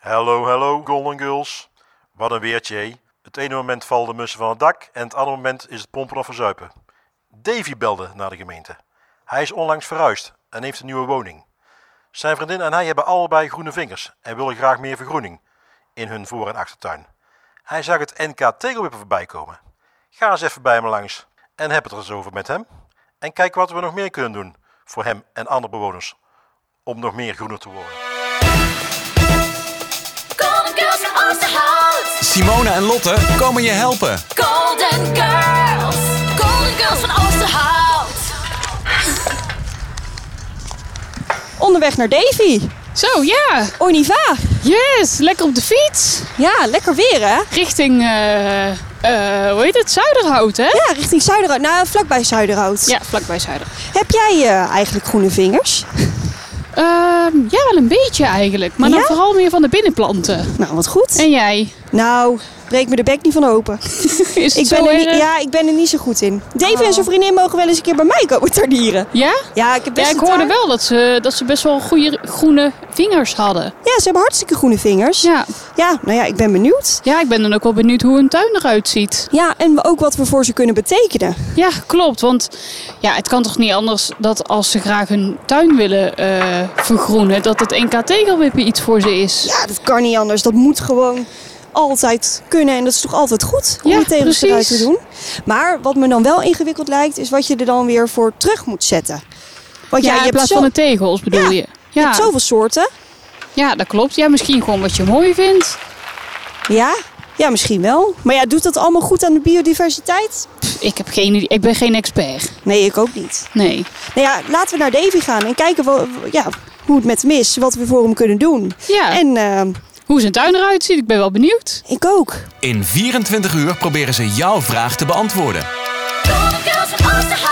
Hallo, hallo, Golden Girls. Wat een weertje, hé. Het ene moment vallen de mussen van het dak en het andere moment is het pompen of verzuipen. Davy belde naar de gemeente. Hij is onlangs verhuisd en heeft een nieuwe woning. Zijn vriendin en hij hebben allebei groene vingers en willen graag meer vergroening in hun voor- en achtertuin. Hij zag het NK tegelwippen voorbij komen. Ga eens even bij hem langs en heb het er eens over met hem. En kijk wat we nog meer kunnen doen voor hem en andere bewoners om nog meer groener te worden. Golden Girls van Oosterhout. Simone en Lotte komen je helpen. Golden Girls. Golden Girls van Oosterhout. Onderweg naar Davy. Zo, ja. Orniva. Yes, lekker op de fiets. Ja, lekker weer hè? Richting, eh, eh, hoe heet het, Zuiderhout, hè? Ja, richting Zuiderhout. Nou, vlakbij Zuiderhout. Ja, vlakbij Zuiderhout. Heb jij eh, eigenlijk groene vingers? Ehm, ja, wel een beetje eigenlijk. Maar dan Ja? vooral meer van de binnenplanten. Nou, wat goed. En jij? Nou, breek me de bek niet van open. Is het Ik ben zo er niet, erg? ja, ik ben er niet zo goed in. Davy en Oh. zijn vriendin mogen wel eens een keer bij mij komen tuinieren. Ja? Ja, ik heb best Ja, ik een hoorde tuin. wel dat ze, dat ze best wel goede groene vingers hadden. Ja, ze hebben hartstikke groene vingers. Ja. ja, nou ja, ik ben benieuwd. ja, ik ben dan ook wel benieuwd hoe hun tuin eruit ziet. Ja, en ook wat we voor ze kunnen betekenen. Ja, klopt. Want ja, het kan toch niet anders dat als ze graag hun tuin willen eh, vergroenen, dat het NK tegelwippen iets voor ze is. Ja, dat kan niet anders. Dat moet gewoon altijd kunnen. En dat is toch altijd goed om Ja, je tegels eruit te precies. doen. Maar wat me dan wel ingewikkeld lijkt, is wat je er dan weer voor terug moet zetten. Want ja, Ja, je, in hebt plaats zo, van de tegels bedoel Ja, je. je hebt zoveel soorten. ja, dat klopt. Ja, misschien gewoon wat je mooi vindt. Ja, ja, misschien wel. Maar ja, doet dat allemaal goed aan de biodiversiteit? Pff, ik, heb geen, idee. ik ben geen expert. Nee, ik ook niet. Nee. Nou ja, laten we naar Davy gaan en kijken wa- wa- ja, hoe het met hem is. Wat we voor hem kunnen doen. Ja, En ehm, hoe zijn tuin eruit ziet, ik ben wel benieuwd. ik ook. In 24 uur proberen ze jouw vraag te beantwoorden. Golden Girls van Oosterhout.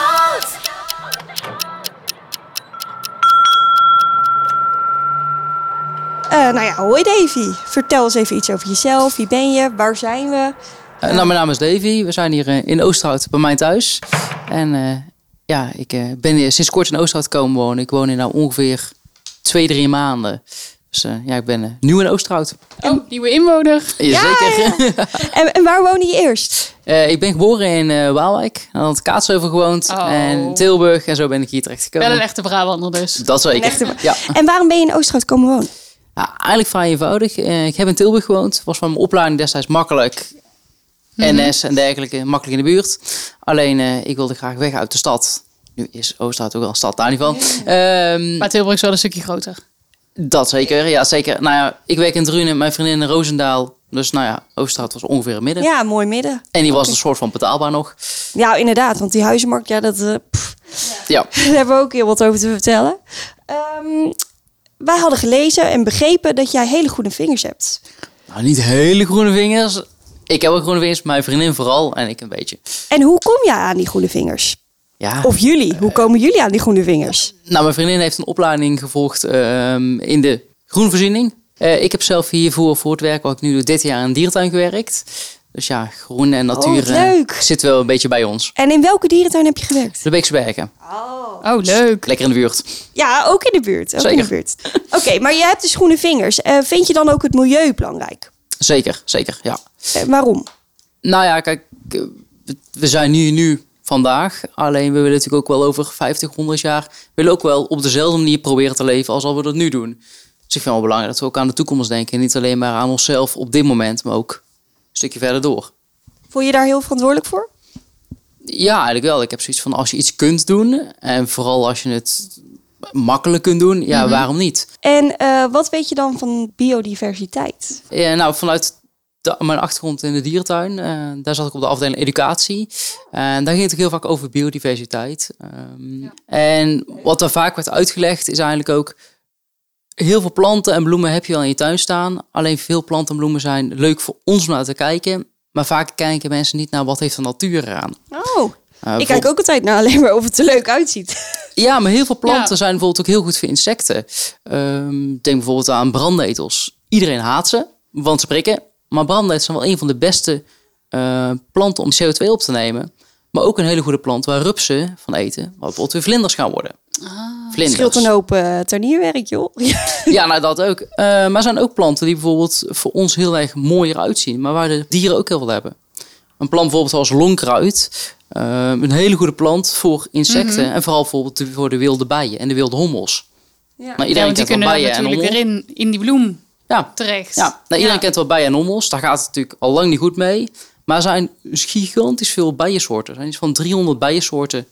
Eh, nou ja, hoi Davy. Vertel eens even iets over jezelf. Wie ben je? Waar zijn we? Eh, nou, mijn naam is Davy. We zijn hier eh, in Oosterhout bij mij thuis. En eh, ja, ik eh, ben hier sinds kort in Oosterhout komen wonen. Ik woon hier nou ongeveer twee, drie maanden. Dus eh, ja, ik ben eh, nieuw in Oosterhout. Oh, nieuwe inwoner. Jazeker. En, en waar woonde je eerst? Eh, ik ben geboren in eh, Waalwijk. En had Kaatsheuvel gewoond. Oh. En Tilburg. En zo ben ik hier terecht Wel gekomen. een echte Brabander dus. Dat zeker. Een echte- Ja. En waarom ben je in Oosterhout komen wonen? Ja, eigenlijk vrij eenvoudig. Eh, ik heb in Tilburg gewoond. Was van mijn opleiding destijds makkelijk. NS en dergelijke, makkelijk in de buurt. Alleen, eh, ik wilde graag weg uit de stad. Nu is Oosterhout ook wel een stad, daar niet van. Ehm, Maar Tilburg is wel een stukje groter. dat zeker, ja zeker. Nou ja, ik werk in Drunen, mijn vriendin in Roosendaal. Dus nou ja, Oosterhout was ongeveer het midden. Ja, mooi midden. En die was een soort van betaalbaar nog. Ja, inderdaad, want die huizenmarkt, ja, dat, eh, pff, Ja, daar hebben we ook heel wat over te vertellen. Ehm, wij hadden gelezen en begrepen dat jij hele goede vingers hebt. nou niet hele groene vingers. Ik heb ook groene vingers, mijn vriendin vooral en ik een beetje. En hoe kom jij aan die groene vingers? Ja. Of jullie, hoe komen jullie aan die groene vingers? Nou, mijn vriendin heeft een opleiding gevolgd ehm, in de groenvoorziening. Eh, ik heb zelf hiervoor voor het werk, wat ik nu doe, dit jaar in een dierentuin gewerkt. Dus ja, groen en natuur Oh, wat eh, leuk. zit wel een beetje bij ons. Dus En in welke dierentuin heb je gewerkt? De Beekse Bergen, Oh, leuk. lekker in de buurt. Ja, ook in de buurt. Ook in de Zeker. buurt. Oké, maar je hebt dus groene vingers. Eh, vind je dan ook het milieu belangrijk? Zeker, zeker, ja. Eh, waarom? Nou ja, kijk, eh, we- we zijn nu, nu vandaag. Alleen we willen natuurlijk ook wel over 50, 100 jaar... we willen ook wel op dezelfde manier proberen te leven als al we dat nu doen. Dus ik vind het wel belangrijk dat we ook aan de toekomst denken. Niet alleen maar aan onszelf op dit moment, maar ook een stukje verder door. Voel je je daar heel verantwoordelijk voor? Ja, eigenlijk wel. Ik heb zoiets van als je iets kunt doen en vooral als je het makkelijk kunt doen, ja, waarom niet? En eh, wat weet je dan van biodiversiteit? Ja, nou, vanuit de- mijn achtergrond in de dierentuin, eh, daar zat ik op de afdeling educatie. En daar ging het ook heel vaak over biodiversiteit. Ehm, En wat daar vaak werd uitgelegd is eigenlijk ook, heel veel planten en bloemen heb je wel in je tuin staan. Alleen veel planten en bloemen zijn leuk voor ons om naar te kijken. Maar vaak kijken mensen niet naar wat heeft de natuur eraan. Oh, Eh, ik kijk ook altijd naar alleen maar of het er leuk uitziet. Ja, maar heel veel planten Ja. zijn bijvoorbeeld ook heel goed voor insecten. Ehm, denk bijvoorbeeld aan brandnetels. Iedereen haat ze, want ze prikken. Maar brandnetels zijn wel een van de beste eh, planten om CO2 op te nemen. Maar ook een hele goede plant waar rupsen van eten, wat bijvoorbeeld weer vlinders gaan worden. Vlinders. scheelt een hoop eh, tuinierwerk, joh. Ja. Ja, nou dat ook. Eh, maar er zijn ook planten die bijvoorbeeld voor ons heel erg mooier uitzien, maar waar de dieren ook heel veel hebben. Een plant bijvoorbeeld als lonkruid, eh, een hele goede plant voor insecten en vooral bijvoorbeeld de- voor de wilde bijen en de wilde hommels. Nou, Ja, iedereen want die kent kunnen wel daar bijen en natuurlijk hommels. erin, in die bloem Ja, terecht. ja. Nou, iedereen kent wel bijen en hommels. Daar gaat het natuurlijk al lang niet goed mee. Maar er zijn dus gigantisch veel bijensoorten. Er zijn iets van 300 bijensoorten,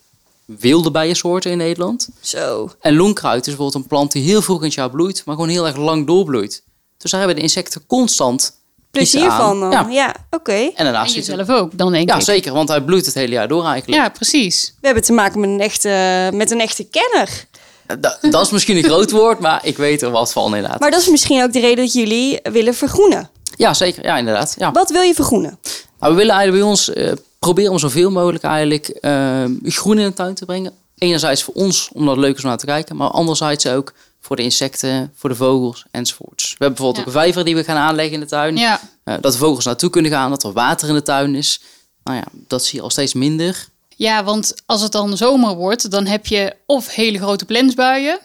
wilde bijensoorten in Nederland. Zo. En loonkruid is bijvoorbeeld een plant die heel vroeg in het jaar bloeit, maar gewoon heel erg lang doorbloeit. Dus daar hebben de insecten constant Plezier iets aan. van dan. Ja, Ja. oké. En En daarnaast zit er- jezelf ook, dan denk Ja, ik. zeker, want hij bloeit het hele jaar door eigenlijk. Ja, precies. We hebben te maken met een echte, met een echte kenner. Eh, Da- dat is misschien een groot woord, maar ik weet er wat van inderdaad. Maar dat is misschien ook de reden dat jullie willen vergroenen. Ja, zeker. Ja, inderdaad. Ja. Wat wil je vergroenen? Nou, we willen eigenlijk bij ons eh, proberen om zoveel mogelijk eigenlijk eh, groen in de tuin te brengen. Enerzijds voor ons, omdat het leuk is om naar te kijken. Maar anderzijds ook voor de insecten, voor de vogels enzovoorts. We hebben bijvoorbeeld Ja. ook een vijver die we gaan aanleggen in de tuin. Ja. Eh, dat de vogels naartoe kunnen gaan, dat er water in de tuin is. Nou ja, dat zie je al steeds minder. ja, want als het dan zomer wordt, dan heb je of hele grote plensbuien.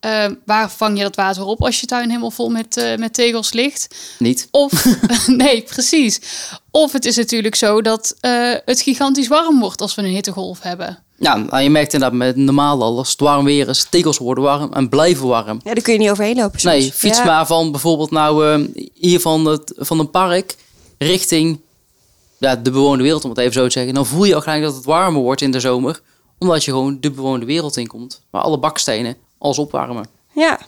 eh, waar vang je dat water op als je tuin helemaal vol met, eh, met tegels ligt? Niet. Of, nee, precies. Of het is natuurlijk zo dat eh, het gigantisch warm wordt als we een hittegolf hebben. Ja, nou, je merkt inderdaad met normaal al, als het warm weer is, tegels worden warm en blijven warm. Ja, daar kun je niet overheen lopen. soms. Nee, fiets Ja. maar van bijvoorbeeld nou eh, hier van het van een park richting ja, de bewoonde wereld, om het even zo te zeggen. Dan voel je al gelijk dat het warmer wordt in de zomer, omdat je gewoon de bewoonde wereld inkomt, waar alle bakstenen alles opwarmen. Ja.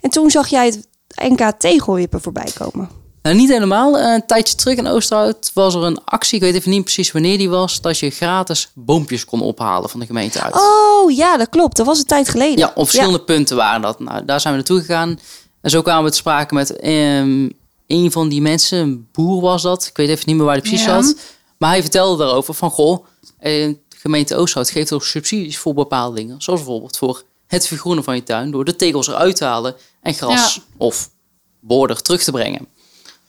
En toen zag jij het NK tegelwippen voorbij komen. Nou, niet helemaal. Eh, Een tijdje terug in Oosterhout was er een actie, ik weet even niet precies wanneer die was, dat je gratis boompjes kon ophalen van de gemeente uit. Oh ja, dat klopt. Dat was een tijd geleden. Ja, op verschillende punten waren dat. Nou, daar zijn we naartoe gegaan. En zo kwamen we te sprake met ehm, een van die mensen, een boer was dat. Ik weet even niet meer waar hij precies Ja. zat. Maar hij vertelde daarover van, goh, eh, de gemeente Oosthout geeft ook subsidies voor bepaalde dingen. Zoals bijvoorbeeld voor het vergroenen van je tuin door de tegels eruit te halen en gras Ja. of border terug te brengen.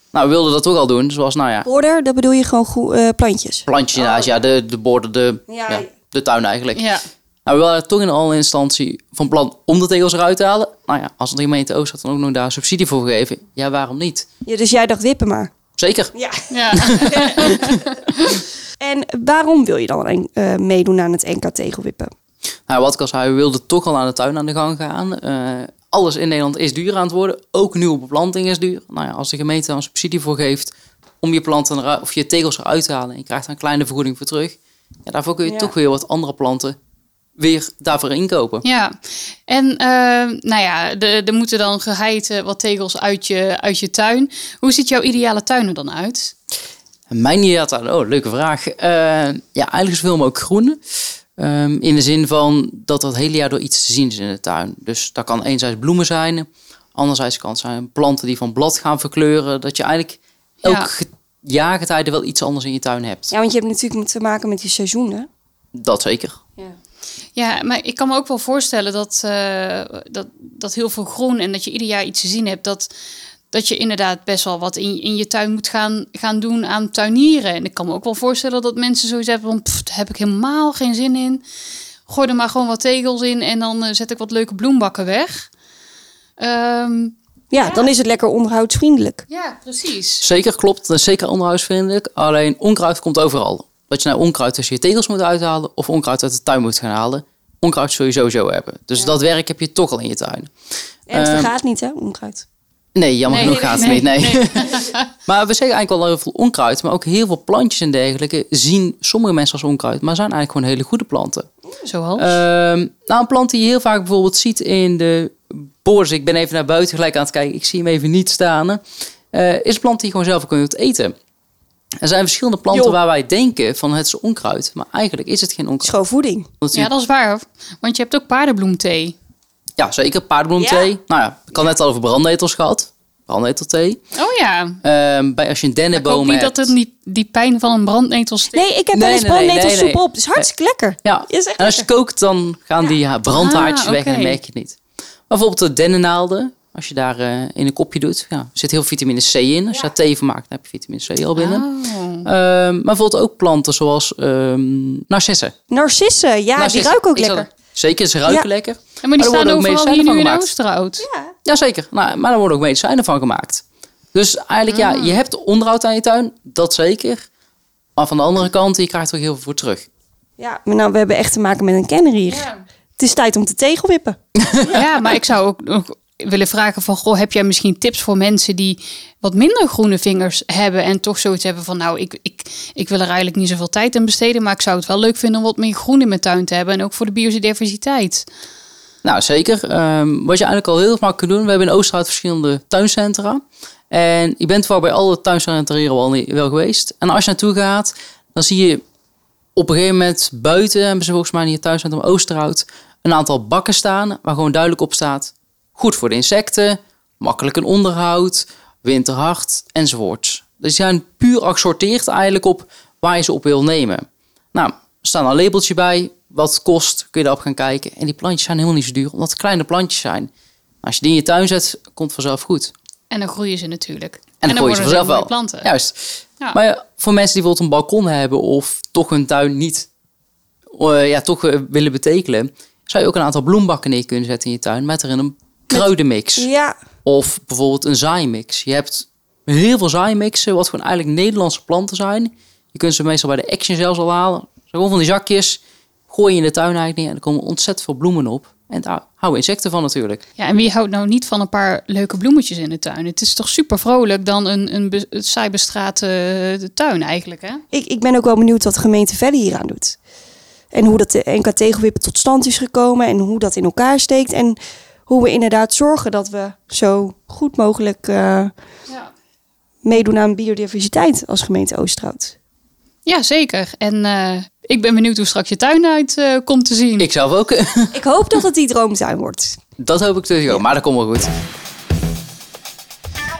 Nou, we wilden dat ook al doen. Zoals, nou ja, Border, dat bedoel je gewoon goe- eh, plantjes. plantjes naast, ja, de, de border, de, Ja. ja, de tuin eigenlijk. Ja, Nou, we waren toch in alle instantie van plan om de tegels eruit te halen. Nou ja, als de gemeente Oost had dan ook nog daar subsidie voor gegeven. Ja, waarom niet? Ja, dus jij dacht wippen maar. Zeker. Ja. ja. En waarom wil je dan eh, meedoen aan het NK tegelwippen? Nou, wat ik al zei, we wilden toch al aan de tuin aan de gang gaan. Eh, alles in Nederland is duur aan het worden. Ook nieuwe beplanting is duur. Nou ja, als de gemeente dan subsidie voor geeft om je planten eruit, of je tegels eruit te halen en je krijgt daar een kleine vergoeding voor terug. Ja, daarvoor kun je Ja. toch weer wat andere planten weer daarvoor inkopen. Ja, en eh, nou ja, er er moeten dan geheid eh, wat tegels uit je, uit je tuin. Hoe ziet jouw ideale tuin er dan uit? Mijn ideaaltuin, oh, leuke vraag. Eh, ja, eigenlijk zoveel mogelijk groen. Ehm, in de zin van dat er het hele jaar door iets te zien is in de tuin. Dus dat kan enerzijds bloemen zijn. Anderzijds kan het zijn planten die van blad gaan verkleuren. Dat je eigenlijk elk Ja. ge- jaargetijde wel iets anders in je tuin hebt. Ja, want je hebt natuurlijk te maken met die seizoenen. Dat zeker. Ja, maar ik kan me ook wel voorstellen dat, eh, dat, dat heel veel groen en dat je ieder jaar iets te zien hebt, dat, dat je inderdaad best wel wat in, in je tuin moet gaan, gaan doen aan tuinieren. En ik kan me ook wel voorstellen dat mensen zoiets hebben van, "Pff, daar heb ik helemaal geen zin in. Gooi er maar gewoon wat tegels in en dan eh, zet ik wat leuke bloembakken weg. Ehm, Ja, dan is het lekker onderhoudsvriendelijk. ja, precies. Zeker, klopt. Dat is zeker onderhuisvriendelijk. Alleen onkruid komt overal. Dat je nou onkruid tussen je tegels moet uithalen of onkruid uit de tuin moet gaan halen. Onkruid zul je sowieso hebben. Dus dat werk heb je toch al in je tuin. En het Ehm, vergaat niet, hè, onkruid. Nee, jammer Nee, genoeg nee, gaat het nee, niet. Nee. maar we zeggen eigenlijk wel heel veel onkruid. Maar ook heel veel plantjes en dergelijke zien sommige mensen als onkruid. Maar zijn eigenlijk gewoon hele goede planten. Zoals? Ehm, nou, een plant die je heel vaak bijvoorbeeld ziet in de bors. Ik ben even naar buiten gelijk aan het kijken. Ik zie hem even niet staan. eh, is een plant die je gewoon zelf kunt eten. Er zijn verschillende planten Joh. waar wij denken van het is onkruid. Maar eigenlijk is het geen onkruid. Schoonvoeding. Omdat je- Ja, dat is waar. Want je hebt ook paardenbloemthee. ja, zeker. Paardenbloemthee. Ja. Nou ja, ik had net al over brandnetels gehad. Brandnetelthee. Oh ja. Ehm, bij, als je een Ik hoop dennenboom niet hebt. dat het niet die pijn van een brandnetel steekt. Nee, ik heb Nee, wel eens nee, nee, brandnetelsoep nee, nee. op. Het is hartstikke lekker. Ja, Is echt en als je kookt, dan gaan die ja, brandhaartjes Ah, weg en dan oké. merk je het niet. Maar bijvoorbeeld de dennennaalden, als je daar eh, in een kopje doet, ja, er zit heel veel vitamine C in. Als je daar thee van maakt, dan heb je vitamine C al binnen. Oh. Ehm, maar bijvoorbeeld ook planten zoals ehm narcissen. Narcissen, ja, die Narcissen. ruiken ook Ik zat- lekker. Zeker, ze ruiken Ja. lekker. Ja, maar die er staan worden ook overal medicijnen hier van nu in gemaakt. Oosterhout. Ja. Jazeker, nou, maar daar worden ook medicijnen van gemaakt. Dus eigenlijk, Ah. ja, je hebt onderhoud aan je tuin, dat zeker. Maar van de andere kant, je krijgt er ook heel veel voor terug. ja, maar nou, we hebben echt te maken met een kenner hier. Ja. Het is tijd om te tegenwippen. Ja, maar ik zou ook nog willen vragen van... Goh, heb jij misschien tips voor mensen die wat minder groene vingers hebben... en toch zoiets hebben van... nou, ik, ik, ik wil er eigenlijk niet zoveel tijd aan besteden... maar ik zou het wel leuk vinden om wat meer groen in mijn tuin te hebben... en ook voor de biodiversiteit. Nou, zeker. Ehm, wat je eigenlijk al heel makkelijk kunt doen. We hebben in Oosterhout verschillende tuincentra. En je bent wel bij alle tuincentra hier wel, wel geweest. En als je naartoe gaat, dan zie je op een gegeven moment buiten... hebben ze volgens mij in het tuincentrum Oosterhout... een aantal bakken staan waar gewoon duidelijk op staat... goed voor de insecten, makkelijk een onderhoud, winterhard enzovoorts. Dus die zijn puur gesorteerd eigenlijk op waar je ze op wil nemen. Nou, er staan een labeltje bij. Wat kost, kun je daarop gaan kijken. En die plantjes zijn helemaal niet zo duur, omdat het kleine plantjes zijn. Als je die in je tuin zet, komt het vanzelf goed. En dan groeien ze natuurlijk. En dan, gooi je ze worden vanzelf wel. mooie planten. Juist. Ja. Maar ja, voor mensen die bijvoorbeeld een balkon hebben of toch hun tuin niet eh, ja, toch, eh, willen betekenen, zou je ook een aantal bloembakken neer kunnen zetten in je tuin met erin een kruidenmix. Ja, Of bijvoorbeeld een zaaimix. Je hebt heel veel zaaimixen, wat gewoon eigenlijk Nederlandse planten zijn. Je kunt ze meestal bij de Action zelfs al halen. Zo Gewoon van die zakjes. Gooi je in de tuin eigenlijk neer en er komen ontzettend veel bloemen op. En daar houden insecten van natuurlijk. Ja, en wie houdt nou niet van een paar leuke bloemetjes in de tuin? Het is toch super vrolijk dan een, een, be- een saai bestraatte eh, tuin eigenlijk, hè? ik, ik ben ook wel benieuwd wat de gemeente verder hier aan doet. En hoe dat de NK Tegelwippen tot stand is gekomen en hoe dat in elkaar steekt. En hoe we inderdaad zorgen dat we zo goed mogelijk eh, Ja. meedoen aan biodiversiteit als gemeente Oosterhout. Ja, zeker. En eh, ik ben benieuwd hoe straks je tuin uit eh, komt te zien. Ik zelf ook. Ik hoop dat het die droomtuin wordt. Dat hoop ik natuurlijk ook, maar dat komt wel goed.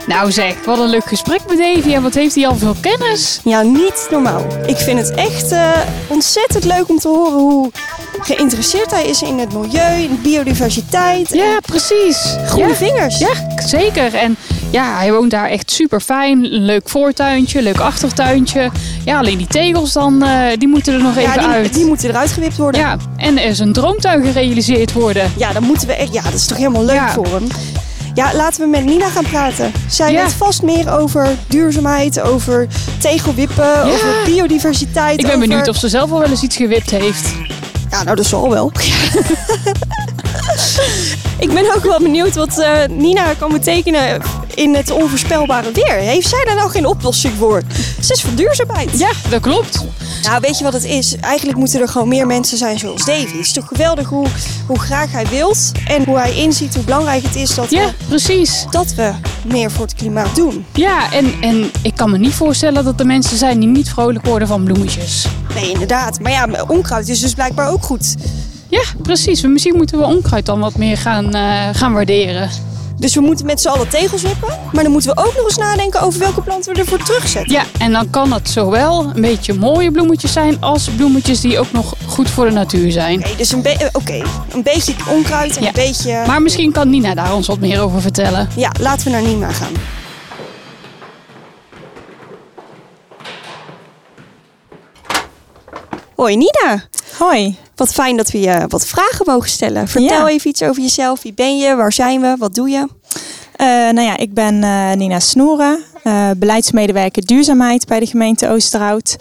Nou zeg, wat een leuk gesprek met Davy. En wat heeft hij al veel kennis. Ja, niet normaal. Ik vind het echt eh, ontzettend leuk om te horen hoe geïnteresseerd hij is in het milieu, in biodiversiteit. Ja, precies. en groene ja, vingers. ja, zeker. En ja, hij woont daar echt super fijn. Leuk voortuintje, leuk achtertuintje. Ja, alleen die tegels dan, eh, die moeten er nog Ja, even die, uit. die moeten eruit gewipt worden. Ja, en er is een droomtuin gerealiseerd worden. Ja, dan moeten we echt. Ja, dat is toch helemaal leuk Ja. voor hem. Ja, laten we met Nina gaan praten. Zij Ja. weet vast meer over duurzaamheid, over tegelwippen, over biodiversiteit. Ik ben over- benieuwd of ze zelf al wel eens iets gewipt heeft. Ja, nou, dat zal wel. Ik ben ook wel benieuwd wat eh, Nina kan betekenen in het onvoorspelbare weer. Heeft zij daar nou geen oplossing voor? Ze is voor duurzaamheid. Ja, dat klopt. Nou, weet je wat het is? Eigenlijk moeten er gewoon meer mensen zijn zoals Davy. Het is toch geweldig hoe, hoe graag hij wilt en hoe hij inziet hoe belangrijk het is dat we Ja, precies. dat we meer voor het klimaat doen. Ja, en, en ik kan me niet voorstellen dat er mensen zijn die niet vrolijk worden van bloemetjes. Nee, inderdaad. Maar ja, onkruid is dus blijkbaar ook goed. Ja, precies. Misschien moeten we onkruid dan wat meer gaan, eh, gaan waarderen. Dus we moeten met z'n allen tegels wippen. Maar dan moeten we ook nog eens nadenken over welke planten we ervoor terugzetten. Ja, en dan kan het zowel een beetje mooie bloemetjes zijn als bloemetjes die ook nog goed voor de natuur zijn. Oké, dus een, be- eh, oké, een beetje onkruid en Ja. een beetje... Maar misschien kan Nina daar ons wat meer over vertellen. Ja, laten we naar Nima gaan. Hoi Nina, Hoi. wat fijn dat we je wat vragen mogen stellen. Vertel Ja. even iets over jezelf. Wie ben je? Waar zijn we? Wat doe je? Eh, nou ja, ik ben eh, Nina Snoeren, eh, beleidsmedewerker duurzaamheid bij de gemeente Oosterhout.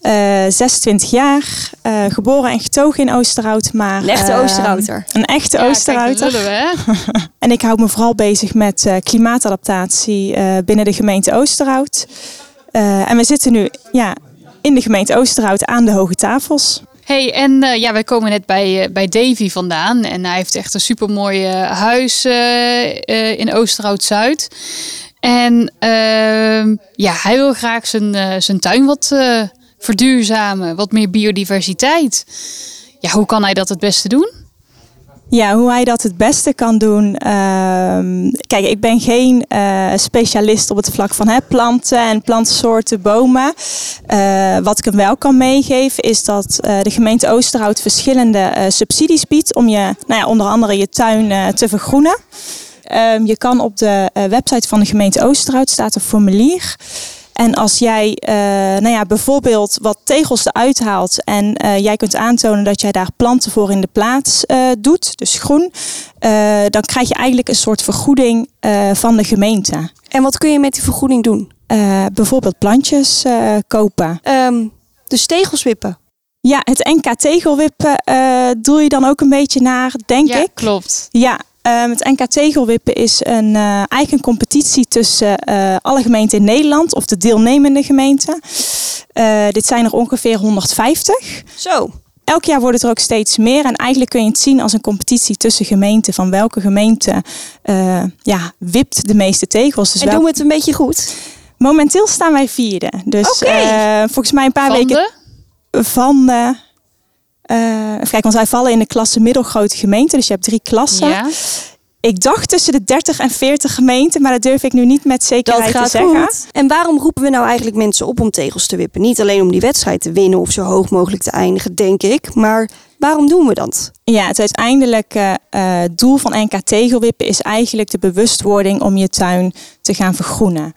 Eh, 26 jaar, eh, geboren en getogen in Oosterhout. Maar, Een echte eh, Oosterhouter. Een echte Ja, kijk, daar Oosterhouter. lullen we, hè? En ik hou me vooral bezig met eh, klimaatadaptatie eh, binnen de gemeente Oosterhout. Eh, en we zitten nu ja, in de gemeente Oosterhout aan de Hoge Tafels. hey, en eh, ja, wij komen net bij, eh, bij Davy vandaan. En hij heeft echt een supermooi eh, huis eh, eh, in Oosterhout-Zuid. En ehm, ja, hij wil graag zijn, eh, zijn tuin wat eh, verduurzamen. Wat meer biodiversiteit. Ja, hoe kan hij dat het beste doen? Ja, hoe hij dat het beste kan doen. ehm, kijk, ik ben geen eh, specialist op het vlak van hè, planten en plantsoorten, bomen. Eh, wat ik hem wel kan meegeven is dat eh, de gemeente Oosterhout verschillende eh, subsidies biedt om je, nou ja, onder andere je tuin eh, te vergroenen. Ehm, je kan op de eh, website van de gemeente Oosterhout staat een formulier. En als jij eh, nou ja, bijvoorbeeld wat tegels eruit haalt en eh, jij kunt aantonen dat jij daar planten voor in de plaats eh, doet, dus groen, eh, dan krijg je eigenlijk een soort vergoeding eh, van de gemeente. En wat kun je met die vergoeding doen? Eh, bijvoorbeeld plantjes eh, kopen. Ehm, dus tegels wippen. Ja, het NK tegelwippen eh doe je dan ook een beetje naar, denk ja, ik. klopt. Ja, ehm, het NK Tegelwippen is een eh, eigen competitie tussen eh, alle gemeenten in Nederland of de deelnemende gemeenten. Eh, dit zijn er ongeveer 150. Zo. Elk jaar wordt het er ook steeds meer. En eigenlijk kun je het zien als een competitie tussen gemeenten. Van welke gemeente eh, ja, wipt de meeste tegels. Dus en wel- doen we het een beetje goed? Momenteel staan wij vierde. Dus Oké. eh, volgens mij een paar Van weken de? van de. eh, even kijken, want wij vallen in de klasse middelgrote gemeente. Dus je hebt drie klassen. Ja. Ik dacht tussen de 30 en 40 gemeenten, maar dat durf ik nu niet met Dat zekerheid te gaat zeggen. goed. En waarom roepen we nou eigenlijk mensen op om tegels te wippen? Niet alleen om die wedstrijd te winnen of zo hoog mogelijk te eindigen, denk ik. Maar waarom doen we dat? Ja, het uiteindelijke eh, doel van NK Tegelwippen is eigenlijk de bewustwording om je tuin te gaan vergroenen.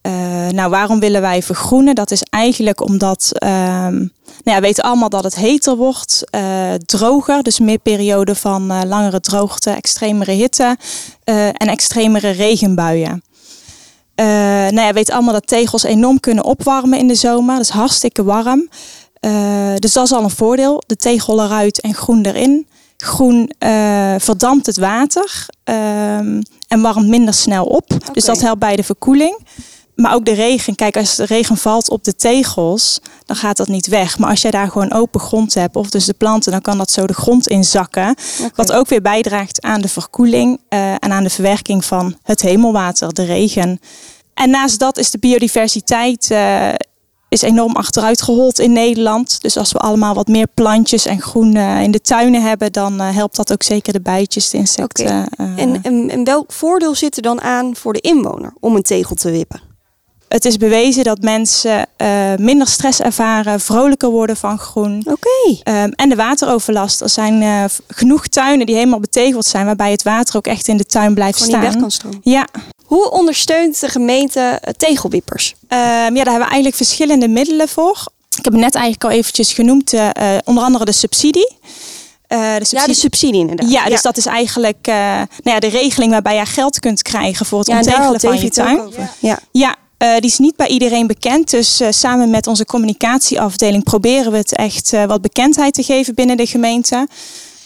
Eh, nou, waarom willen wij vergroenen? Dat is eigenlijk omdat ehm, nou ja, we weten allemaal dat het heter wordt, eh, droger, dus meer perioden van eh, langere droogte, extremere hitte eh, en extremere regenbuien. Eh nou ja, we weten allemaal dat tegels enorm kunnen opwarmen in de zomer, dat is hartstikke warm. Eh, dus dat is al een voordeel. De tegel eruit en groen erin. Groen eh, verdampt het water ehm, en warmt minder snel op. Dus dat helpt bij de verkoeling. Maar ook de regen. Kijk, als de regen valt op de tegels, dan gaat dat niet weg. Maar als jij daar gewoon open grond hebt, of dus de planten, dan kan dat zo de grond inzakken. Wat ook weer bijdraagt aan de verkoeling eh, en aan de verwerking van het hemelwater, de regen. En naast dat is de biodiversiteit eh, is enorm achteruit gehold in Nederland. Dus als we allemaal wat meer plantjes en groen eh, in de tuinen hebben, dan eh, helpt dat ook zeker de bijtjes, de insecten. eh, En, en, en welk voordeel zit er dan aan voor de inwoner om een tegel te wippen? het is bewezen dat mensen eh, minder stress ervaren, vrolijker worden van groen. Oké. Ehm, en de wateroverlast. Er zijn eh, v- genoeg tuinen die helemaal betegeld zijn, waarbij het water ook echt in de tuin blijft Gewoon niet staan. weg kan stromen. Ja. Hoe ondersteunt de gemeente eh, tegelwippers? Ehm, ja, daar hebben we eigenlijk verschillende middelen voor. Ik heb het net eigenlijk al eventjes genoemd, eh, eh, onder andere de subsidie. Eh, de Ja, de subsidie subsidie inderdaad. Ja, dus dat is eigenlijk eh, nou ja, de regeling waarbij je geld kunt krijgen voor het ja, en daar ontregelen had van Davy het je ook tuin. over. Ja. Ja, eh, die is niet bij iedereen bekend. Dus eh, samen met onze communicatieafdeling proberen we het echt eh, wat bekendheid te geven binnen de gemeente.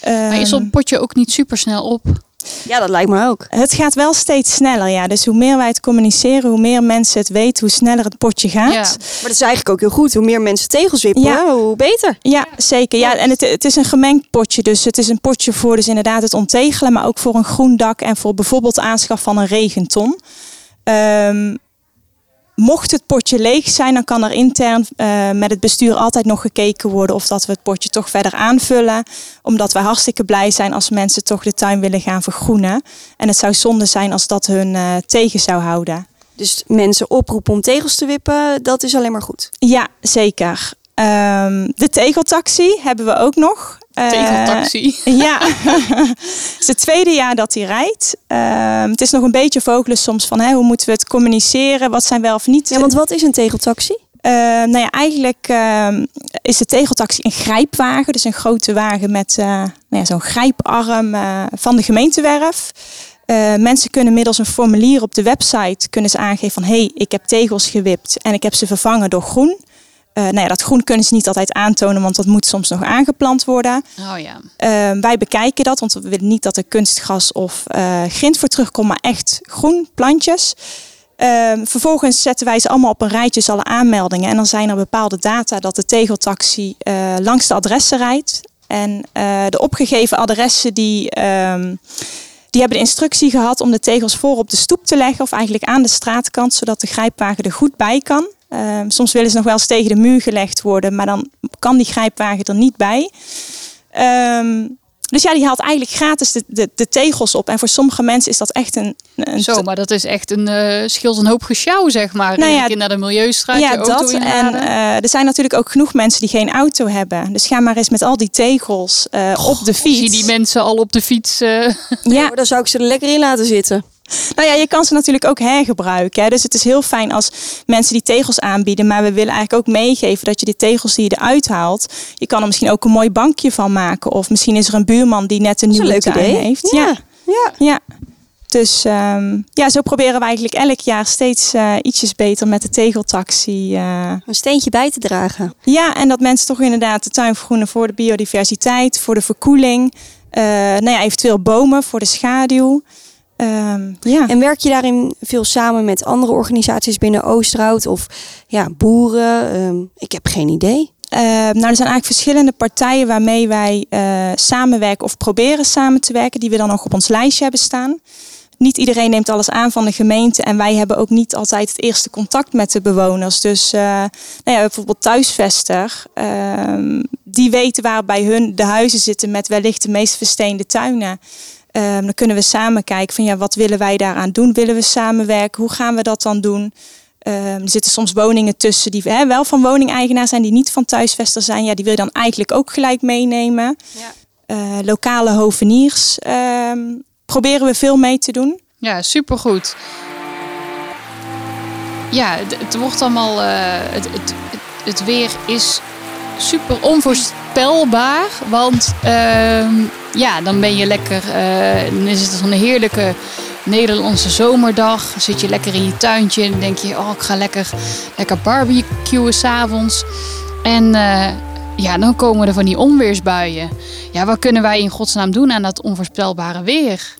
Maar is Ehm, zo'n potje ook niet super snel op? ja, dat lijkt me ook. Het gaat wel steeds sneller, ja. Dus hoe meer wij het communiceren, hoe meer mensen het weten, hoe sneller het potje gaat. Ja. Maar dat is eigenlijk ook heel goed. Hoe meer mensen tegels wippen, Ja. hè, hoe beter. Ja, zeker. Ja, en het, het is een gemengd potje. Dus het is een potje voor dus inderdaad het onttegelen, maar ook voor een groen dak en voor bijvoorbeeld aanschaf van een regenton. Ehm, mocht het potje leeg zijn, dan kan er intern eh, met het bestuur altijd nog gekeken worden of dat we het potje toch verder aanvullen. Omdat wij hartstikke blij zijn als mensen toch de tuin willen gaan vergroenen. En het zou zonde zijn als dat hun eh, tegen zou houden. Dus mensen oproepen om tegels te wippen, dat is alleen maar goed. Ja, zeker. Ehm, de tegeltaxi hebben we ook nog. Eh, Tegeltaxi. ja, het is het tweede jaar dat hij rijdt. Ehm, het is nog een beetje vogelen soms van hè, hoe moeten we het communiceren, wat zijn wel of niet. Ja, want wat is een tegeltaxi? Ehm, nou ja, eigenlijk ehm, is de tegeltaxi een grijpwagen, dus een grote wagen met eh, nou ja, zo'n grijparm eh, van de gemeentewerf. Eh, mensen kunnen middels een formulier op de website kunnen ze aangeven van hé, hey, ik heb tegels gewipt en ik heb ze vervangen door groen. Eh, nou ja, dat groen kunnen ze niet altijd aantonen, want dat moet soms nog aangeplant worden. Oh ja. Eh, wij bekijken dat, want we willen niet dat er kunstgras of eh grind voor terugkomt, maar echt groen plantjes. Eh, vervolgens zetten wij ze allemaal op een rijtje, dus alle aanmeldingen. En dan zijn er bepaalde data dat de tegeltaxi eh, langs de adressen rijdt. En eh, de opgegeven adressen die, ehm, die hebben de instructie gehad om de tegels voor op de stoep te leggen. Of eigenlijk aan de straatkant, zodat de grijpwagen er goed bij kan. Ehm, soms willen ze nog wel eens tegen de muur gelegd worden, maar dan kan die grijpwagen er niet bij. Ehm, dus ja, die haalt eigenlijk gratis de, de, de tegels op. En voor sommige mensen is dat echt een... een Zo, maar dat is echt een eh scheelt een hoop gesjouw, zeg maar. Nou Nou ja, naar de milieustraat, ja, je auto dat. En inladen. eh, er zijn natuurlijk ook genoeg mensen die geen auto hebben. Dus ga maar eens met al die tegels eh, op de Zie fiets. die mensen al op de fiets. eh, ja, Oh, Maar dan zou ik ze er lekker in laten zitten. Nou ja, je kan ze natuurlijk ook hergebruiken. Hè. Dus het is heel fijn als mensen die tegels aanbieden. Maar we willen eigenlijk ook meegeven dat je die tegels die je eruit haalt. Je kan er misschien ook een mooi bankje van maken. Of misschien is er een buurman die net een is een nieuwe leuk tuin idee. heeft. Ja. ja. Ja. Dus ehm, ja, zo proberen we eigenlijk elk jaar steeds eh, ietsjes beter met de tegeltaxi. eh. Een steentje bij te dragen. Ja, en dat mensen toch inderdaad de tuin vergroenen voor de biodiversiteit, voor de verkoeling. eh, nou ja, eventueel bomen voor de schaduw. Ehm, ja. En werk je daarin veel samen met andere organisaties binnen Oosterhout of ja, boeren? Ehm, ik heb geen idee. Eh, nou, er zijn eigenlijk verschillende partijen waarmee wij eh, samenwerken of proberen samen te werken, die we dan nog op ons lijstje hebben staan. Niet iedereen neemt alles aan van de gemeente en wij hebben ook niet altijd het eerste contact met de bewoners. Dus eh, nou ja, bijvoorbeeld thuisvester, ehm, die weten waar bij hun de huizen zitten met wellicht de meest versteende tuinen. Ehm, dan kunnen we samen kijken van ja, wat willen wij daaraan doen? Willen we samenwerken? Hoe gaan we dat dan doen? Ehm, er zitten soms woningen tussen die hè, wel van woningeigenaar zijn, die niet van thuisvester zijn. Ja, die wil je dan eigenlijk ook gelijk meenemen. Eh, lokale hoveniers ehm, proberen we veel mee te doen. Ja, supergoed. Ja, het, het wordt allemaal. eh, het, het, het, het weer is super onvoorspelbaar. Want ehm, ja, dan ben je lekker. eh, dan is het een heerlijke Nederlandse zomerdag. Zit je lekker in je tuintje en denk je, oh, ik ga lekker, lekker barbecuen s'avonds. En eh, ja, dan komen er van die onweersbuien. Ja, wat kunnen wij in godsnaam doen aan dat onvoorspelbare weer?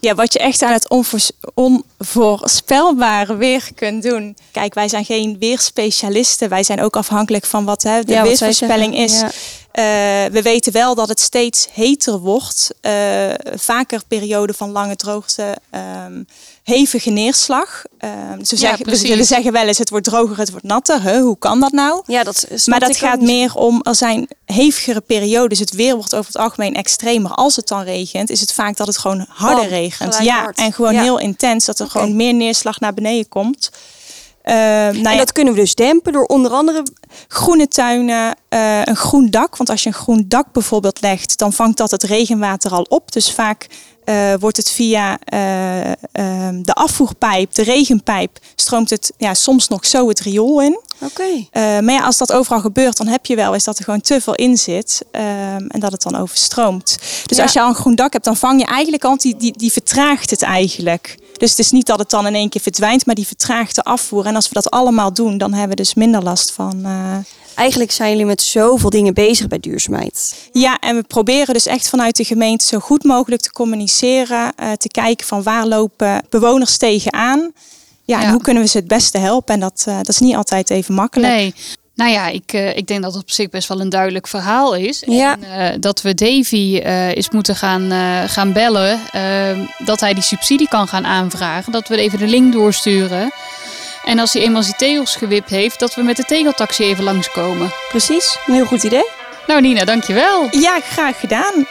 Ja, wat je echt aan het onvoors- onvoorspelbare weer kunt doen. Kijk, wij zijn geen weerspecialisten. Wij zijn ook afhankelijk van wat hè, de Ja, wat zij weersvoorspelling is. zeggen. Eh, we weten wel dat het steeds heter wordt. Eh, vaker perioden van lange droogte, ehm, hevige neerslag. Ehm, dus we, Ja, zeggen, we precies. zullen zeggen wel eens, het wordt droger, het wordt natter. Huh, hoe kan dat nou? Ja, dat snap Maar dat ik ook gaat niet. meer om, er zijn hevigere periodes. Het weer wordt over het algemeen extremer. Als het dan regent, is het vaak dat het gewoon harder Bam, regent. gelijk Ja, hard. en gewoon Ja. heel intens. Dat er Oké. gewoon meer neerslag naar beneden komt. Eh, nou En ja, dat kunnen we dus dempen door onder andere groene tuinen, eh, een groen dak. Want als je een groen dak bijvoorbeeld legt, dan vangt dat het regenwater al op. Dus vaak eh, wordt het via eh, ehm, de afvoerpijp, de regenpijp, stroomt het ja, soms nog zo het riool in. Oké. Eh, maar ja, als dat overal gebeurt, dan heb je wel eens dat er gewoon te veel in zit ehm, en dat het dan overstroomt. Dus Ja. als je al een groen dak hebt, dan vang je eigenlijk al, want die, die, die vertraagt het eigenlijk. Dus het is niet dat het dan in één keer verdwijnt, maar die vertraagt de afvoer. En als we dat allemaal doen, dan hebben we dus minder last van. eh, Eigenlijk zijn jullie met zoveel dingen bezig bij duurzaamheid. Ja, en we proberen dus echt vanuit de gemeente zo goed mogelijk te communiceren. eh, te kijken van waar lopen bewoners tegenaan. Ja, en Ja. hoe kunnen we ze het beste helpen? En dat, eh, dat is niet altijd even makkelijk. Nee. Nou ja, ik, eh, ik denk dat het op zich best wel een duidelijk verhaal is. Ja. En, eh, dat we Davy eh eens moeten gaan, eh, gaan bellen. eh, dat hij die subsidie kan gaan aanvragen. Dat we even de link doorsturen. En als hij eenmaal zijn tegels gewipt heeft, dat we met de tegeltaxi even langskomen. Precies, een heel goed idee. Nou Nina, dankjewel. Ja, graag gedaan.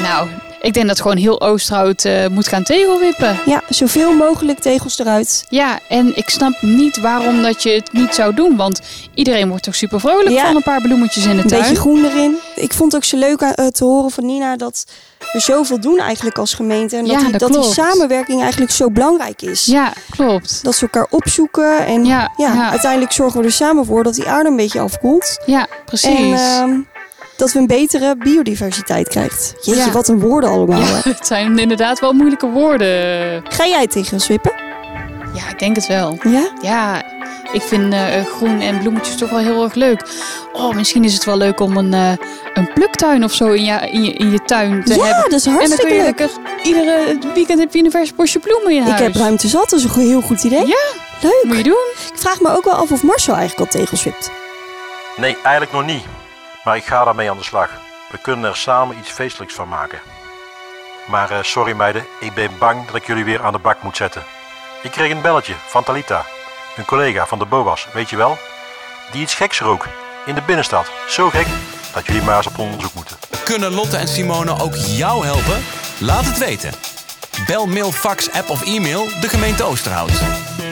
Nou, ik denk dat gewoon heel Oosterhout eh, moet gaan tegelwippen. Ja, zoveel mogelijk tegels eruit. Ja, en ik snap niet waarom dat je het niet zou doen. Want iedereen wordt toch super vrolijk Ja. van een paar bloemetjes in de Een tuin. beetje groen erin. Ik vond het ook zo leuk eh, te horen van Nina dat we zoveel doen eigenlijk als gemeente. En dat, Ja, die, dat dat die klopt. samenwerking eigenlijk zo belangrijk is. Ja, klopt. Dat ze elkaar opzoeken en ja, Ja, ja. uiteindelijk zorgen we er samen voor dat die aarde een beetje afkoelt. Ja, precies. En ehm, dat we een betere biodiversiteit krijgen. Jeetje, Ja. wat een woorden allemaal. ja, hè. het zijn inderdaad wel moeilijke woorden. Ga jij tegen swippen? Ja, ik denk het wel. Ja? Ja, ik vind eh, groen en bloemetjes toch wel heel erg leuk. Oh, misschien is het wel leuk om een, eh, een pluktuin of zo in je, in je, in je tuin te ja, hebben. dat is En dan kun hartstikke je leuk. lekker iedere weekend heb je een vers bosje bloemen in Ik huis. heb ruimte zat, dat is een go- heel goed idee. Ja, Leuk. moet je doen. Ik vraag me ook wel af of Marcel eigenlijk al tegels wipt. Nee, eigenlijk nog niet. Maar ik ga daarmee aan de slag. We kunnen er samen iets feestelijks van maken. Maar eh, sorry meiden, ik ben bang dat ik jullie weer aan de bak moet zetten. Ik kreeg een belletje van Talita, een collega van de BOA's, weet je wel? Die iets geks rook in de binnenstad. Zo gek dat jullie maar eens op onderzoek moeten. Kunnen Lotte en Simone ook jou helpen? Laat het weten. Bel, mail, fax, app of e-mail de gemeente Oosterhout.